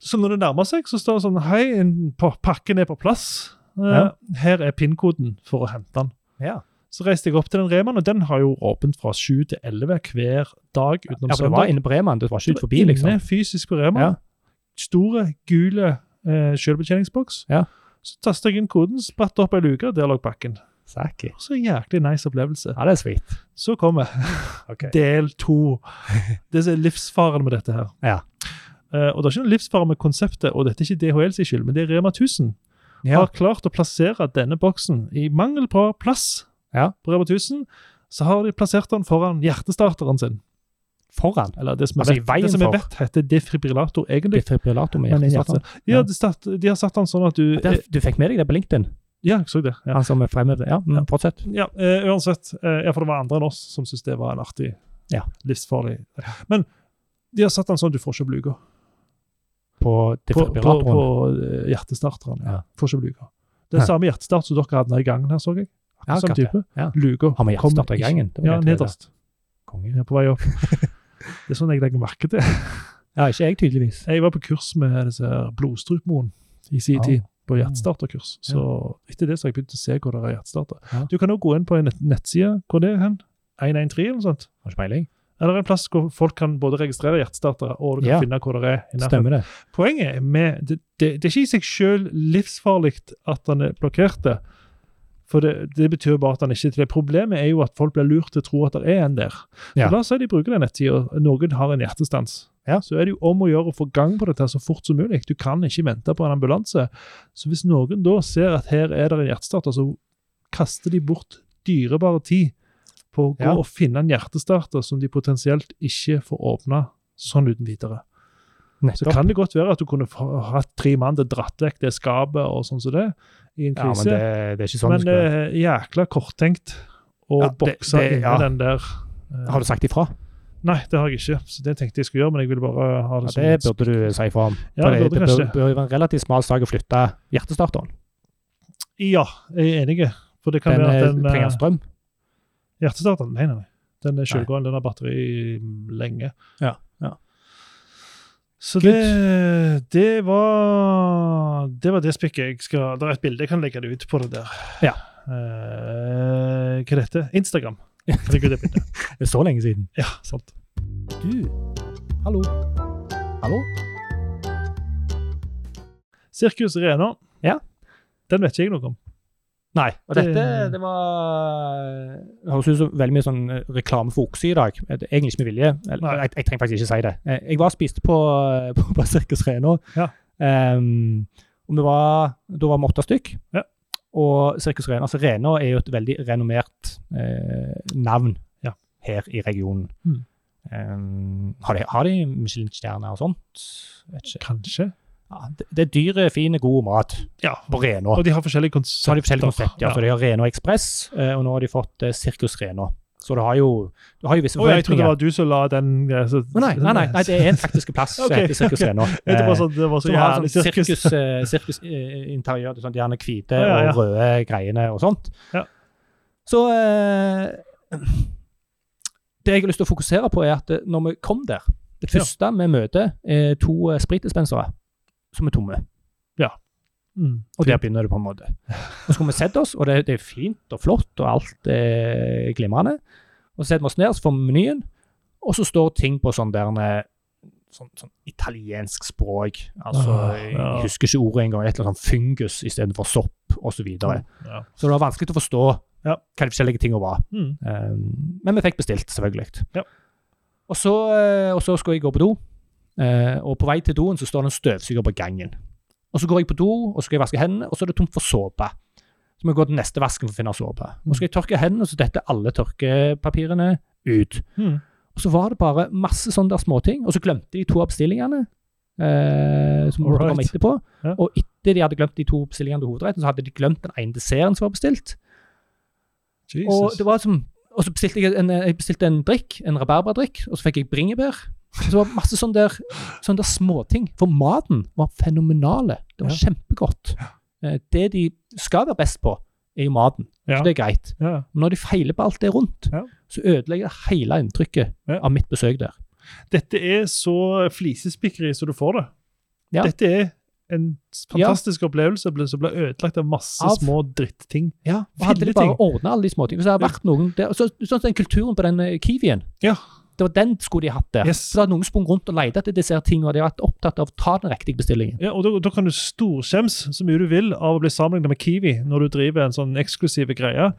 Speaker 1: Så når det nærmer seg, så står det sånn Hei, en pa- pakken er på plass. Eh,
Speaker 2: Ja.
Speaker 1: Her er PIN-koden for å hente den.
Speaker 2: ja.
Speaker 1: Så reiste jeg opp til den Remaen, og den har jo åpent fra 7 til 11 hver dag utenom
Speaker 2: ja, for det
Speaker 1: søndag.
Speaker 2: var inne på Remaen, du var ikke
Speaker 1: Det
Speaker 2: ut
Speaker 1: var
Speaker 2: forbi, liksom.
Speaker 1: Inne fysisk på Rema.
Speaker 2: Ja.
Speaker 1: Store, gule eh, selvbetjeningsboks.
Speaker 2: Ja.
Speaker 1: Så tastet jeg inn koden, spratt opp ei luke, og der lå pakken.
Speaker 2: Saki.
Speaker 1: Så jæklig nice opplevelse.
Speaker 2: Ja, det er sweet.
Speaker 1: Så kommer
Speaker 2: Ok.
Speaker 1: del to.
Speaker 2: [laughs]
Speaker 1: Det som er livsfaren med dette her.
Speaker 2: Ja.
Speaker 1: Eh, og det er ikke noen livsfare med konseptet, og dette er ikke DHL sin skyld, men det er Rema 1000.
Speaker 2: Ja.
Speaker 1: Har klart å plassere denne boksen i mangel på plass
Speaker 2: Ja.
Speaker 1: på Rema 1000. Så har de plassert den foran hjertestarteren sin.
Speaker 2: Foran.
Speaker 1: Eller det som
Speaker 2: Altså, i
Speaker 1: jeg
Speaker 2: veien
Speaker 1: vet, det som jeg
Speaker 2: for.
Speaker 1: vet heter defibrillator, egentlig.
Speaker 2: Defibrillator med
Speaker 1: Men en
Speaker 2: hjertestarter.
Speaker 1: hjertestarter. De,
Speaker 2: Ja.
Speaker 1: hadde satt, de har satt den sånn at du
Speaker 2: Der- Du fikk med deg det på LinkedIn?
Speaker 1: Ja, jeg så det. Ja,
Speaker 2: Han som er fremme Ja, mm, fortsett.
Speaker 1: ja eh, uansett. eh, ja, for det var andre enn oss som syntes det var en artig,
Speaker 2: Ja.
Speaker 1: livsfarlig Men de har satt den sånn at du får ikke bluga. På,
Speaker 2: På
Speaker 1: på, på
Speaker 2: defibrillatoren.
Speaker 1: eh, hjertestarteren. Ja.
Speaker 2: Ja.
Speaker 1: Får ikke bluga. Den
Speaker 2: Hæ.
Speaker 1: samme hjertestart som dere hadde nede i gangen her, så jeg.
Speaker 2: Ja,
Speaker 1: Samme
Speaker 2: akkurat det.
Speaker 1: type.
Speaker 2: Ja.
Speaker 1: Luga.
Speaker 2: Har vi hjertestarter i
Speaker 1: kommer
Speaker 2: gangen? Det
Speaker 1: ikke-
Speaker 2: var
Speaker 1: Ja,
Speaker 2: det jeg trodde.
Speaker 1: nederst.
Speaker 2: Konge.
Speaker 1: Ja, på vei
Speaker 2: [laughs]
Speaker 1: opp. Det er sånn jeg legger merke til.
Speaker 2: Ja, ikke jeg, tydeligvis.
Speaker 1: Jeg var på kurs med disse her Blodstrupmoen i sin
Speaker 2: Ah.
Speaker 1: tid, på hjertestarterkurs. Så etter det så har jeg begynt å se hvor det er hjertestarter.
Speaker 2: Mm. Ja.
Speaker 1: Du kan også gå inn på en nett- nettside. Hvor det er hen? 113 eller noe sånt?
Speaker 2: Har ikke peiling.
Speaker 1: Eller en plass hvor folk kan både registrere hjertestartere og du kan
Speaker 2: Ja.
Speaker 1: finne hvor det er. i nærheten.
Speaker 2: Stemmer det.
Speaker 1: Poenget med det, det, det er ikke i seg selv livsfarlig at han er blokkert. det. For det, det betyr bare at han ikke er til det. Problemet er jo at folk blir lurt til å tro at det er en der.
Speaker 2: Ja.
Speaker 1: Så La oss si de bruker den nettsida, noen har en hjertestans.
Speaker 2: Ja.
Speaker 1: Så er det jo om å gjøre å få gang på dette så fort som mulig. Du kan ikke vente på en ambulanse. Så hvis noen da ser at her er det en hjertestarter, så kaster de bort dyrebare tid på å gå
Speaker 2: Ja.
Speaker 1: og finne en hjertestarter som de potensielt ikke får åpna sånn uten videre. Så
Speaker 2: Nettopp.
Speaker 1: kan det godt være at du kunne få- hatt tre mann til å dratt vekk det skapet og sånn som det, i en
Speaker 2: Ja, men
Speaker 1: krise.
Speaker 2: det,
Speaker 1: men
Speaker 2: det er ikke
Speaker 1: det,
Speaker 2: sånn det skal være.
Speaker 1: er jækla korttenkt å
Speaker 2: Ja, det-
Speaker 1: bokse
Speaker 2: det-
Speaker 1: inn i
Speaker 2: ja.
Speaker 1: den der. eh,
Speaker 2: Har du sagt ifra?
Speaker 1: Nei, det har jeg ikke. Så det tenkte jeg skulle gjøre, men jeg ville bare ha
Speaker 2: Ja,
Speaker 1: det som
Speaker 2: det burde du si ifra om.
Speaker 1: Ja,
Speaker 2: For
Speaker 1: det burde
Speaker 2: det, det
Speaker 1: kanskje
Speaker 2: bør,
Speaker 1: det.
Speaker 2: bør jo være en relativt smal sak å flytte hjertestarteren.
Speaker 1: Ja, jeg er enig. For det kan
Speaker 2: Den
Speaker 1: være
Speaker 2: eh,
Speaker 1: at den
Speaker 2: trenger
Speaker 1: eh,
Speaker 2: strøm.
Speaker 1: hjertestarteren Nei, nei, nei. Den er selvgående. Den har batteri lenge.
Speaker 2: Ja, ja.
Speaker 1: Så
Speaker 2: Good.
Speaker 1: det, det var Det var det spikket jeg skal Det er et bilde jeg kan legge det ut på det der.
Speaker 2: Ja.
Speaker 1: Eh, hva er dette? Instagram. Legg ut det
Speaker 2: [laughs]
Speaker 1: bildet.
Speaker 2: Det er så lenge siden.
Speaker 1: Ja, sant.
Speaker 2: Du, hallo. Hallo?
Speaker 1: Sirkus Rena.
Speaker 2: Ja.
Speaker 1: Den vet ikke jeg noe om.
Speaker 2: Nei. Og
Speaker 1: Det-
Speaker 2: dette, det var Det høres ut som veldig mye sånn eh, reklame for okse i dag. Eh, det er Egentlig ikke med vilje. Eller,
Speaker 1: Nei.
Speaker 2: Jeg, jeg trenger faktisk ikke si det. Eh, Jeg var og spiste på, eh, [laughs] på, på Sirkus Rena.
Speaker 1: Ja.
Speaker 2: Ehm, og vi var Da var vi åtte stykk.
Speaker 1: Ja.
Speaker 2: Og Sirkus Rena altså Rena er jo et veldig renommert eh, navn
Speaker 1: Ja.
Speaker 2: her i regionen.
Speaker 1: Mm.
Speaker 2: Ehm, har de, har de Michelin-stjerner og sånt? Vet ikke.
Speaker 1: Kanskje.
Speaker 2: Ja, det, det er dyre, fine, god mat
Speaker 1: Ja.
Speaker 2: på Rena.
Speaker 1: Og de har forskjellige
Speaker 2: Så har de forskjellige
Speaker 1: konsepter.
Speaker 2: konsepter. Ja, for de har Rena Ekspress, eh, og nå har de fått eh, Sirkus Rena. Så du har jo, du har jo visse
Speaker 1: Å, jeg trodde det
Speaker 2: forventninger.
Speaker 1: var du som la den eh, så-
Speaker 2: Å, nei, nei, nei, nei, det er
Speaker 1: [laughs]
Speaker 2: en faktisk plass som
Speaker 1: Ok,
Speaker 2: heter Sirkus
Speaker 1: ok. [laughs]
Speaker 2: Rena.
Speaker 1: Jeg tenkte
Speaker 2: Eh,
Speaker 1: bare sånn, det var så
Speaker 2: som har
Speaker 1: jævlig
Speaker 2: sånn
Speaker 1: sirkus.
Speaker 2: sirkus, eh, sirkusinteriør, det er sånn, de gjerne hvite
Speaker 1: Ja, ja, ja.
Speaker 2: og røde greiene og sånt.
Speaker 1: Ja.
Speaker 2: Så eh, det jeg har lyst til å fokusere på, er at eh, når vi kom der Det
Speaker 1: Ja.
Speaker 2: første vi møter, er to eh, spritdispensere som er tomme.
Speaker 1: Mm.
Speaker 2: Og der begynner det, på en måte. Og så kommer vi sette oss, og det, det er fint og flott, og alt er glimrende. Og så setter vi oss ned, så får vi menyen, og så står ting på sånn der eh, Sånn, sånn italiensk språk. Altså,
Speaker 1: Ah,
Speaker 2: jeg,
Speaker 1: ja.
Speaker 2: jeg husker ikke ordet engang. Et eller annet sånn fungus istedenfor sopp, osv. Så, videre.
Speaker 1: Ja.
Speaker 2: så det var vanskelig til å forstå
Speaker 1: Ja.
Speaker 2: hva de forskjellige tingene var.
Speaker 1: Mm.
Speaker 2: Um, men vi fikk bestilt, selvfølgelig.
Speaker 1: Ja.
Speaker 2: Og, så, eh, og så skal jeg gå på do, eh, og på vei til doen så står det en støvsuger på gangen. Og så går jeg på do, og så skal jeg vaske hendene, og så er det tomt for såpe. Så må jeg gå til neste vasken for å finne såpe. Og så skal jeg tørke hendene, og så detter alle tørkepapirene ut.
Speaker 1: Mm.
Speaker 2: Og så var det bare masse sånne der småting, og så glemte de to av bestillingene. Eh, som måtte
Speaker 1: Alright.
Speaker 2: komme etterpå.
Speaker 1: Ja.
Speaker 2: Og etter de hadde glemt de to bestillingene til hovedretten, så hadde de glemt den ene desserten som var bestilt. Og
Speaker 1: Jesus.
Speaker 2: det var som, og så bestilte jeg en, jeg bestilte en drikk, en rabarbradrikk, og så fikk jeg bringebær. Så det var masse sånne der, sånne der småting. For maten var fenomenale. Det var kjempegodt. Eh, Det de skal være best på, er jo maten.
Speaker 1: Ja.
Speaker 2: Så det er greit.
Speaker 1: Ja.
Speaker 2: Men når de feiler på alt det rundt,
Speaker 1: Ja.
Speaker 2: så ødelegger det hele inntrykket
Speaker 1: Ja.
Speaker 2: av mitt besøk der.
Speaker 1: Dette er så flisespikkeri som du får det.
Speaker 2: Ja.
Speaker 1: Dette er en s-
Speaker 2: Ja.
Speaker 1: fantastisk opplevelse ble- som ble ødelagt av masse
Speaker 2: Av-
Speaker 1: små dritting.
Speaker 2: Ja, og Hadde de bare ordna alle de småtingene Hvis det hadde vært noen der, så, Sånn som den kulturen på den eh, kiwien.
Speaker 1: Ja.
Speaker 2: Det var den skulle de hatt der.
Speaker 1: Yes.
Speaker 2: Så da hadde noen sprunget rundt og lett etter disse her tingene, og de har vært opptatt av å ta den riktige bestillingen.
Speaker 1: Ja, og da, da kan du storskjems så mye du vil av å bli sammenlignet med Kiwi når du driver en sånn eksklusiv greie.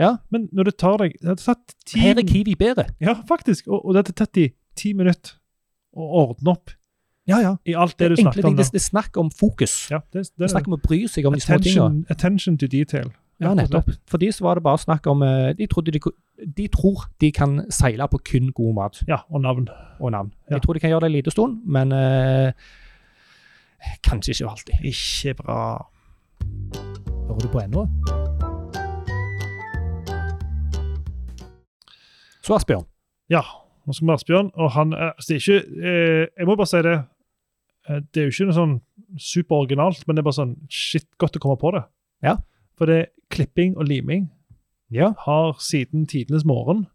Speaker 2: Ja.
Speaker 1: Men når det tar deg Det hadde tatt ti
Speaker 2: Her er kiwi bedre.
Speaker 1: Ja, faktisk. Og, og det hadde tatt de ti minutter å ordne opp
Speaker 2: Ja, ja.
Speaker 1: i alt det,
Speaker 2: Det er
Speaker 1: du snakket om.
Speaker 2: egentlig
Speaker 1: nå.
Speaker 2: det, det er snakk om fokus.
Speaker 1: Ja, det,
Speaker 2: Det
Speaker 1: det,
Speaker 2: er snakk om å bry seg om de små
Speaker 1: attention,
Speaker 2: tingene.
Speaker 1: attention to detail.
Speaker 2: Ja,
Speaker 1: rett og
Speaker 2: nettopp. For de så var det bare snakk om eh, de, trodde de, ku- de tror de kan seile på kun god mat
Speaker 1: slett. Ja, og navn.
Speaker 2: og navn.
Speaker 1: Ja.
Speaker 2: Jeg tror de kan gjøre det en liten stund, men eh, kanskje ikke alltid.
Speaker 1: Ikke bra.
Speaker 2: Hører du på ennå? Så Asbjørn.
Speaker 1: Ja, nå skal vi ha Asbjørn, og han er, altså det er ikke eh, Jeg må bare si det. eh, Det er jo ikke noe sånn superoriginalt, men det er bare sånn shit godt å komme på det.
Speaker 2: Ja.
Speaker 1: For det klipping og liming
Speaker 2: Ja.
Speaker 1: har siden tidenes morgen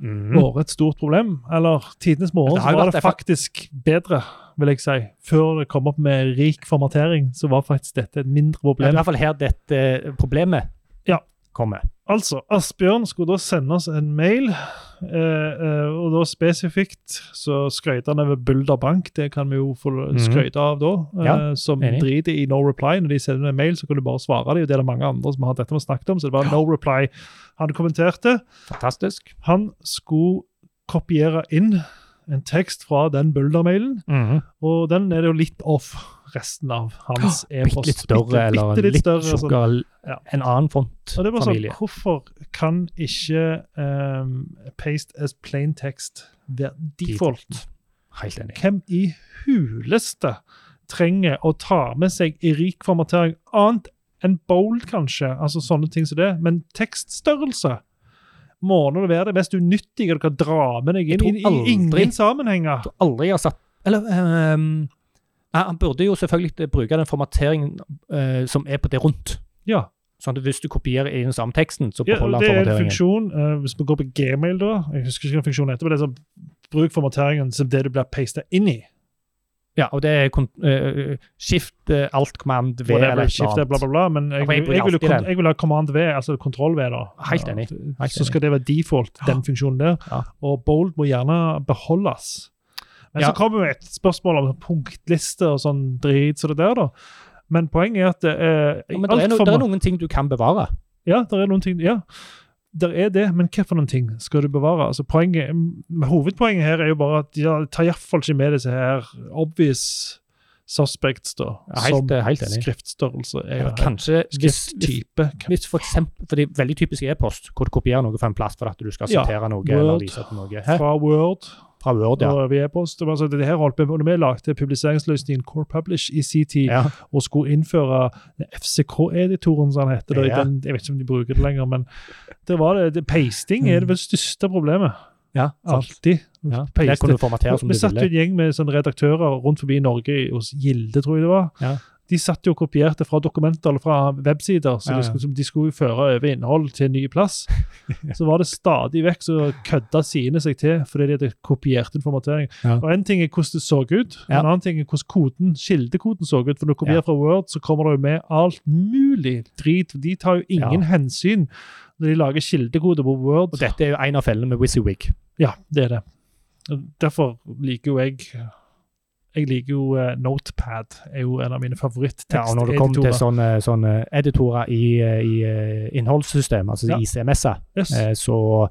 Speaker 2: Og
Speaker 1: vært et stort problem. Eller tidenes morgen
Speaker 2: Mm. Det
Speaker 1: så
Speaker 2: har jo
Speaker 1: var
Speaker 2: vært
Speaker 1: det
Speaker 2: det fa-
Speaker 1: faktisk bedre, vil jeg si. Før det kom opp med rik formatering, så var faktisk dette et mindre
Speaker 2: Det er i
Speaker 1: problem.
Speaker 2: hvert fall her dette problemet
Speaker 1: Ja.
Speaker 2: kommer.
Speaker 1: Altså, Asbjørn skulle da sende oss en mail, eh, eh, og da spesifikt så skrøt han over Bulder Bank, det kan vi jo få
Speaker 2: Mhm.
Speaker 1: skrøyte av da, eh,
Speaker 2: Ja,
Speaker 1: som
Speaker 2: enig.
Speaker 1: driter i no reply. Når de sender en mail, så kan du bare svare dem, og det er det mange andre som har dette vi har snakket om, så det var no reply. Han kommenterte,
Speaker 2: Fantastisk.
Speaker 1: han skulle kopiere inn en tekst fra den Bulder-mailen,
Speaker 2: Mm.
Speaker 1: og den er det jo litt off resten av hans
Speaker 2: Bitte
Speaker 1: e-post.
Speaker 2: litt større,
Speaker 1: Bitte-
Speaker 2: eller
Speaker 1: bitte
Speaker 2: litt,
Speaker 1: sånn.
Speaker 2: tjukkere.
Speaker 1: Ja.
Speaker 2: En annen font.
Speaker 1: Og det var sånn,
Speaker 2: familie.
Speaker 1: Hvorfor kan ikke ehm, paste as plain text være default?
Speaker 2: Helt enig.
Speaker 1: Hvem i huleste trenger å ta med seg i rik formatering annet enn bold, kanskje? Altså sånne ting som det. Men tekststørrelse må nå være det mest unyttige du kan dra med deg
Speaker 2: Jeg
Speaker 1: inn i,
Speaker 2: tror
Speaker 1: i
Speaker 2: aldri-
Speaker 1: ingen sammenhenger.
Speaker 2: Jeg tror aldri jeg har satt Eller ehm, nei, Han burde jo selvfølgelig bruke den formateringen eh, som er på det rundt.
Speaker 1: Ja.
Speaker 2: Sånn at hvis du kopierer i den samme teksten, så
Speaker 1: Ja,
Speaker 2: beholder
Speaker 1: det er
Speaker 2: han
Speaker 1: en
Speaker 2: formateringen.
Speaker 1: funksjon. eh, hvis vi går på gmail, da Jeg husker ikke hva funksjonen heter, men det er sånn bruk formateringen som det du blir pasta inn i.
Speaker 2: Ja, og det er kon eh, skift eh, alt command V eller
Speaker 1: whatever,
Speaker 2: et eller
Speaker 1: skifte, bla, bla,
Speaker 2: annet.
Speaker 1: bla. Men jeg,
Speaker 2: for jeg
Speaker 1: jeg,
Speaker 2: bruker
Speaker 1: vil, jo
Speaker 2: alltid
Speaker 1: kon-
Speaker 2: den.
Speaker 1: jeg vil ha command V, altså kontroll V, da.
Speaker 2: Helt enig.
Speaker 1: Ja,
Speaker 2: Helt
Speaker 1: Så skal det være default, den funksjonen der.
Speaker 2: Ja.
Speaker 1: Og bold må gjerne beholdes. Men
Speaker 2: Ja.
Speaker 1: så kommer jo et spørsmål om punktlister og sånn drit som det der, da. Men poenget er at det er
Speaker 2: Ja, men det er, no, det er noen ting du kan bevare.
Speaker 1: ja, der er noen ting Ja, der er det, men hva for noen ting skal du bevare? Altså, poenget, m- hovedpoenget her er jo bare at ja, ta iallfall ikke med disse her obvious suspects, da.
Speaker 2: Ja, helt, eh, helt enig.
Speaker 1: skriftstørrelse er jo
Speaker 2: Eller
Speaker 1: her.
Speaker 2: Eh, kanskje hvis, hvis,
Speaker 1: Skrifttype. kan-
Speaker 2: hvis for eksempel, for det er veldig typisk e-post, hvor du kopierer noe fra en plass for at du skal
Speaker 1: Ja,
Speaker 2: sitere noe eller
Speaker 1: Word.
Speaker 2: vise til noe. Hæ?
Speaker 1: Fra Word
Speaker 2: Fra Word, ja.
Speaker 1: og via post. Det var Altså, det her holdt på, når vi lagde publiseringsløsningen Core Publish i sin tid,
Speaker 2: ja.
Speaker 1: og skulle innføre FCK-editoren, som han heter. Da, i
Speaker 2: Ja.
Speaker 1: den, jeg vet ikke om de bruker det lenger, men det var det, det, pasting er det vel største problemet.
Speaker 2: ja sant.
Speaker 1: Alltid.
Speaker 2: Ja. Der
Speaker 1: Paste.
Speaker 2: kunne du formatere som
Speaker 1: vi
Speaker 2: du
Speaker 1: satt jo
Speaker 2: ville.
Speaker 1: en gjeng med sånn redaktører rundt forbi i Norge, hos Gilde, tror jeg det var.
Speaker 2: Ja.
Speaker 1: De satt jo og kopierte fra dokumenter eller fra websider så
Speaker 2: Ja, ja.
Speaker 1: de skulle, som de skulle jo føre over innhold til en ny plass.
Speaker 2: [laughs]
Speaker 1: Så var det stadig vekk så kødda sidene seg til fordi de hadde kopiert inn formatering.
Speaker 2: Ja.
Speaker 1: Og En ting er hvordan det så ut,
Speaker 2: Ja.
Speaker 1: en annen ting er hvordan koden, kildekoden så ut. For når du kopierer
Speaker 2: Ja.
Speaker 1: fra Word, så kommer det jo med alt mulig drit. De tar jo ingen hensyn når de lager kildekode på Word.
Speaker 2: Og dette er jo en av fellene med WYSIWYG.
Speaker 1: Ja, det er det. Derfor liker jo jeg Jeg liker jo eh, Notepad. er jo en av mine
Speaker 2: Ja, og når det kommer til
Speaker 1: favorittteksteditorer.
Speaker 2: sånne, sånne editorer i, eh, i eh, innholdssystem, altså
Speaker 1: Ja.
Speaker 2: ICMS-er,
Speaker 1: yes,
Speaker 2: eh, så er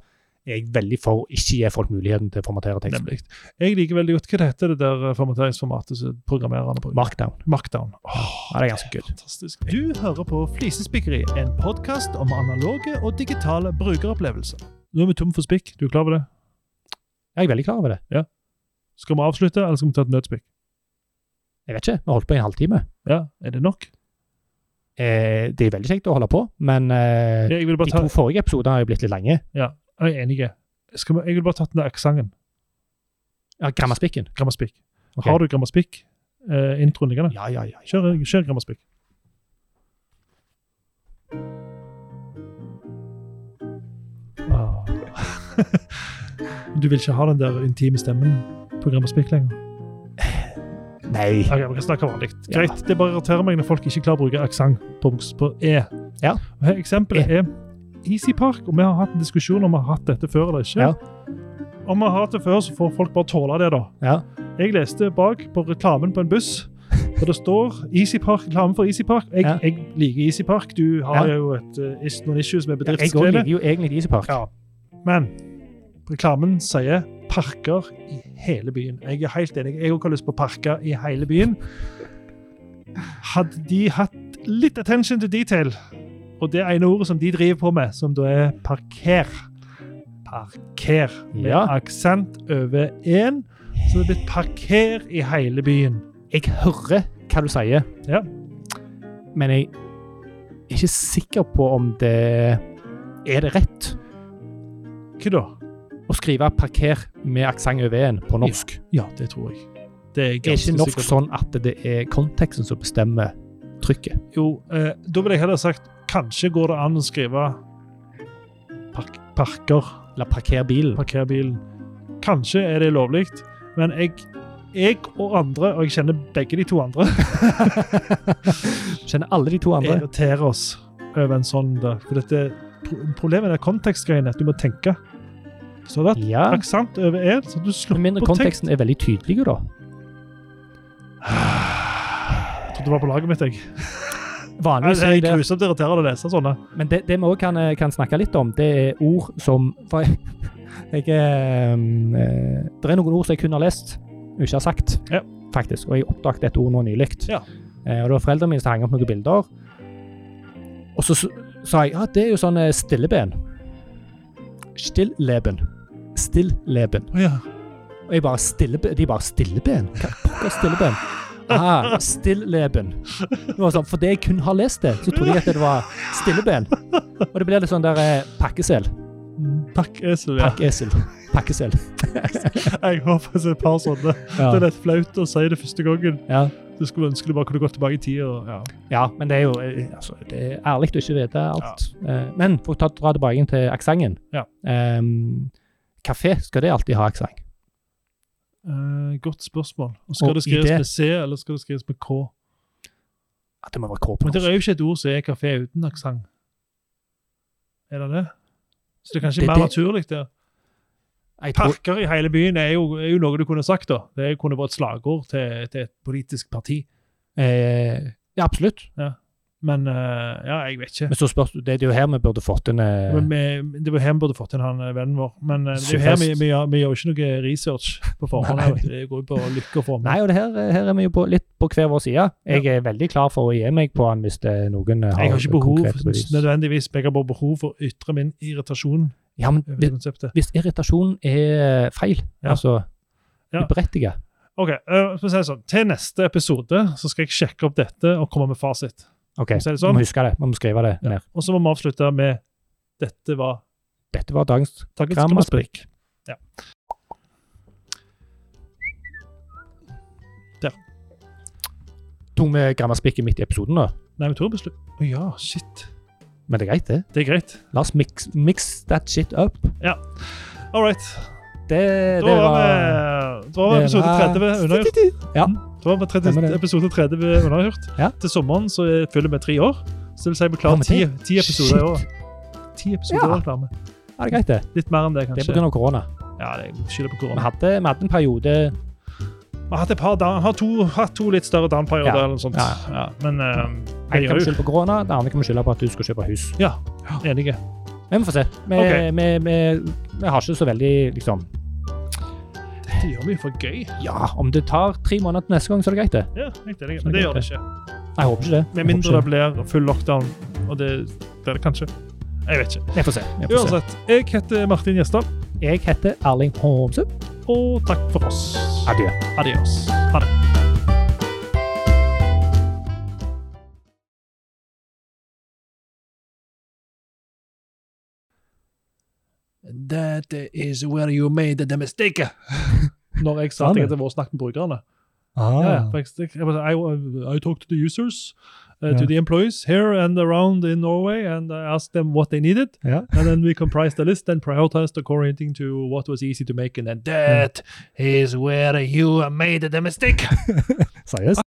Speaker 2: jeg veldig for ikke gi folk muligheten til å formatere tekst.
Speaker 1: nemlig. Jeg liker veldig godt hva det heter det der eh, formateringsformatet som programmererne bruker.
Speaker 2: Markdown.
Speaker 1: Markdown. Åh,
Speaker 2: Ja, det er ganske good.
Speaker 1: Fantastisk. Du hører på Flisespikkeri, en podkast om analoge og digitale brukeropplevelser. Nå er vi tom for spikk. Du er klar over det?
Speaker 2: Jeg er veldig klar over det.
Speaker 1: Skal vi avslutte, eller skal vi ta et nødspikk?
Speaker 2: Jeg vet ikke, vi har holdt på i en halvtime.
Speaker 1: Ja, Er det nok?
Speaker 2: Eh, det er veldig kjekt å holde på, men eh,
Speaker 1: Jeg vil
Speaker 2: de
Speaker 1: bare ta
Speaker 2: to forrige episodene har jo blitt litt lange.
Speaker 1: Jeg er enig. Skal vi- Jeg vil bare ta den der aksenten.
Speaker 2: Ja, Grammaspikken.
Speaker 1: Grammaspikk.
Speaker 2: Ok.
Speaker 1: Har du grammaspikk? Eh, introen liggende?
Speaker 2: Ja, ja, ja.
Speaker 1: Kjør, kjør grammaspikk. Ah. [laughs] du vil ikke ha den der intime stemmen på grammaspikk lenger?
Speaker 2: Nei.
Speaker 1: Ok, Vi kan snakke vanlig.
Speaker 2: Ja.
Speaker 1: Greit, Det bare irriterer meg når folk ikke klarer å bruke aksent på, boks- på e.
Speaker 2: Ja. E.
Speaker 1: Og her Eksempelet er Easy Park, og vi har hatt en diskusjon om vi har hatt dette før eller ikke.
Speaker 2: Ja.
Speaker 1: Om vi har hatt det før, så får folk bare tåle det, da.
Speaker 2: Ja.
Speaker 1: Jeg leste bak på reklamen på en buss, og det står Easy Park, reklame for Easy Park. Jeg,
Speaker 2: Ja.
Speaker 1: jeg liker Easy Park. Du har
Speaker 2: Ja.
Speaker 1: jo et, eh, is- noen issues med
Speaker 2: Jeg òg
Speaker 1: bedriftsglede.
Speaker 2: liker jo egentlig Isepark.
Speaker 1: Ja. Men reklamen sier parker i hele byen. Jeg er helt enig. Jeg også har lyst på parker i hele byen. Hadde de hatt litt attention to detail, og det ene ordet som de driver på med, som da er parker Parker med
Speaker 2: Ja.
Speaker 1: aksent over én, så det er blitt parker i hele byen.
Speaker 2: Jeg hører hva du sier,
Speaker 1: Ja.
Speaker 2: men jeg er ikke sikker på om det er det rett
Speaker 1: Hva da?
Speaker 2: å skrive 'parker' med aksent over en på norsk.
Speaker 1: Ja, det tror jeg. Det er
Speaker 2: Er
Speaker 1: ganske
Speaker 2: ikke norsk
Speaker 1: sikkert.
Speaker 2: sånn at det er konteksten som bestemmer trykket?
Speaker 1: Jo, eh, da ville jeg heller sagt kanskje går det an å skrive park parker,
Speaker 2: La 'parker bilen'.
Speaker 1: parker bilen. Kanskje er det lovlig, men jeg, jeg og andre, og jeg kjenner begge de to andre,
Speaker 2: Kjenner alle de to [laughs] andre.
Speaker 1: irriterer oss over en sånn der. For dette pro- problemet er kontekstgreiene, at du må tenke. Så det
Speaker 2: Ja.
Speaker 1: er aksent over er, så du
Speaker 2: Med mindre
Speaker 1: slipper tekst.
Speaker 2: konteksten er veldig tydelig, da.
Speaker 1: Jeg trodde du var på laget mitt, jeg. Nei,
Speaker 2: Vanligvis
Speaker 1: Det
Speaker 2: er
Speaker 1: er
Speaker 2: jeg der
Speaker 1: grusomt irriterende å lese sånne.
Speaker 2: Men det, det vi òg kan, eh, kan snakke litt om, det er ord som For jeg, [laughs] jeg ehm, eh, Det er noen ord som jeg kunne ha lest, og ikke har sagt,
Speaker 1: Ja.
Speaker 2: faktisk. Og jeg oppdaget et ord nå nylig.
Speaker 1: Ja.
Speaker 2: Eh, og det var foreldrene mine som hang opp noen bilder. Og så s- sa jeg ja, det er jo sånn eh, stilleben. Stilleben. Stilleben.
Speaker 1: Å ja.
Speaker 2: Og jeg bare stilleben? De bare stilleben? Hva pokker er stilleben? Ah, stilleben. Det var sånn, for det jeg kun har lest det, så trodde jeg at det var stilleben. Og det blir litt sånn der eh, pakkesel.
Speaker 1: Mm, Pakkesel, ja.
Speaker 2: Pakkesel. Pakkesel.
Speaker 1: Jeg håper jeg ser et par sånne.
Speaker 2: Ja.
Speaker 1: Det er litt flaut å si det første gangen.
Speaker 2: Ja.
Speaker 1: Du skulle ønske du bare kunne gått tilbake i tid. Og, ja.
Speaker 2: ja, men det er jo eh, altså, det er ærlig å ikke vite alt. Eh, men for å ta, dra tilbake til aksenten.
Speaker 1: Ja.
Speaker 2: Ehm, kafé, skal det alltid ha aksent?
Speaker 1: Eh, godt spørsmål. Og skal
Speaker 2: Og
Speaker 1: det skrives
Speaker 2: idé.
Speaker 1: med C, eller skal det skrives med K?
Speaker 2: At det må være K på
Speaker 1: Men det
Speaker 2: norsk.
Speaker 1: er jo ikke et ord som er kafé uten aksent. Er det det? Så det er kanskje
Speaker 2: Det-
Speaker 1: mer
Speaker 2: det-
Speaker 1: naturlig der.
Speaker 2: Jeg tror,
Speaker 1: Parker i hele byen er jo, er jo noe du kunne sagt, da. Det kunne vært et slagord til, til et politisk parti.
Speaker 2: eh, ja, absolutt.
Speaker 1: Men eh, ja, jeg vet ikke.
Speaker 2: Men så spørs det, det er jo her vi burde fått en eh,
Speaker 1: Men vi, det var her vi burde fått inn han eh, vennen vår. Men eh, det er jo her vi, vi, gjør, vi gjør jo ikke noe research på forhånd.
Speaker 2: Nei.
Speaker 1: vet du. Det går jo på lykke og form.
Speaker 2: Nei, og det her, her er vi jo på, litt på hver vår side. Jeg er veldig klar for å gi meg på han hvis det er noen eh, har,
Speaker 1: Jeg har ikke behov, sånn
Speaker 2: konkrete bevis.
Speaker 1: nødvendigvis, jeg har bare behov for å ytre min irritasjon
Speaker 2: Ja, men
Speaker 1: over det
Speaker 2: hvis,
Speaker 1: konseptet.
Speaker 2: hvis irritasjon er feil,
Speaker 1: Ja.
Speaker 2: altså
Speaker 1: Ja.
Speaker 2: uberettiget
Speaker 1: Ok, øh, for å si det sånn, Til neste episode så skal jeg sjekke opp dette og komme med fasit.
Speaker 2: Ok,
Speaker 1: Så er det
Speaker 2: vi
Speaker 1: sånn.
Speaker 2: må huske det. Vi må skrive det ned.
Speaker 1: Og så må vi avslutte med dette var
Speaker 2: Dette var dagens
Speaker 1: Takket skal man
Speaker 2: grammaspikk. Tok vi grammaspikken midt i episoden nå?
Speaker 1: Nei, vi tok en beslut... Å ja, shit.
Speaker 2: Men det er greit, det.
Speaker 1: Det er greit.
Speaker 2: La oss mix, mix that shit up.
Speaker 1: All right. Da
Speaker 2: Det, det
Speaker 1: var vi
Speaker 2: var
Speaker 1: Da var vi
Speaker 2: det
Speaker 1: episode
Speaker 2: var-
Speaker 1: 30 unnagjort.
Speaker 2: Ja.
Speaker 1: Da var vi 30,
Speaker 2: Stemmer det.
Speaker 1: episode 30 unnagjort.
Speaker 2: Ja.
Speaker 1: Til sommeren så er- fyller vi tre år. Så det vil si vi
Speaker 2: Ja,
Speaker 1: klarer
Speaker 2: men
Speaker 1: ti, ti episoder i
Speaker 2: Shit.
Speaker 1: året. Ti episoder
Speaker 2: Ja.
Speaker 1: i år klarer vi.
Speaker 2: Ja, det er greit, det.
Speaker 1: Litt mer enn det,
Speaker 2: Det er
Speaker 1: kanskje.
Speaker 2: pga. korona.
Speaker 1: Ja, det er skylder på
Speaker 2: Vi
Speaker 1: korona.
Speaker 2: hadde, vi hadde en periode
Speaker 1: Vi har hatt et par down, har to, hatt to litt større down-perioder
Speaker 2: Ja.
Speaker 1: eller noe sånt.
Speaker 2: Ja.
Speaker 1: Ja. Men eh, det
Speaker 2: En kan
Speaker 1: gjør
Speaker 2: vi
Speaker 1: jo
Speaker 2: skylde på korona, det andre kan vi skylde på at du skal kjøpe hus.
Speaker 1: Ja, enige.
Speaker 2: Men vi får se. Vi,
Speaker 1: Ok.
Speaker 2: vi, vi, vi har ikke så veldig liksom
Speaker 1: Det gjør vi for gøy.
Speaker 2: Ja, om det tar tre måneder til neste gang, så er det greit, det.
Speaker 1: Ja, helt enig. Men det gjør det ikke.
Speaker 2: Nei, Jeg håper ikke det.
Speaker 1: Med
Speaker 2: Jeg
Speaker 1: mindre det
Speaker 2: håper ikke.
Speaker 1: blir full lockdown, og det, det er det kanskje. Jeg vet ikke.
Speaker 2: Jeg får se. Jeg, får se.
Speaker 1: Uansett, jeg heter Martin Gjesdal,
Speaker 2: jeg heter Erling Homse.
Speaker 1: og takk for oss.
Speaker 2: Adjø.
Speaker 1: Adios. Ha det.
Speaker 3: That is where you made the mistake.
Speaker 1: [laughs] Når jeg sa at jeg hadde vært og snakket med brukerne.
Speaker 2: Ah.
Speaker 1: Ja, ja, for jeg- jeg bare, I, I talked to the users, uh, to
Speaker 2: Ja.
Speaker 1: the employees here and around in Norway, and I asked them what they needed.
Speaker 2: Ah, Ja.
Speaker 1: And then we comprised the list and prioritized according to what was easy to make. And then that
Speaker 3: That is where you made the mistake.
Speaker 2: Seriøst?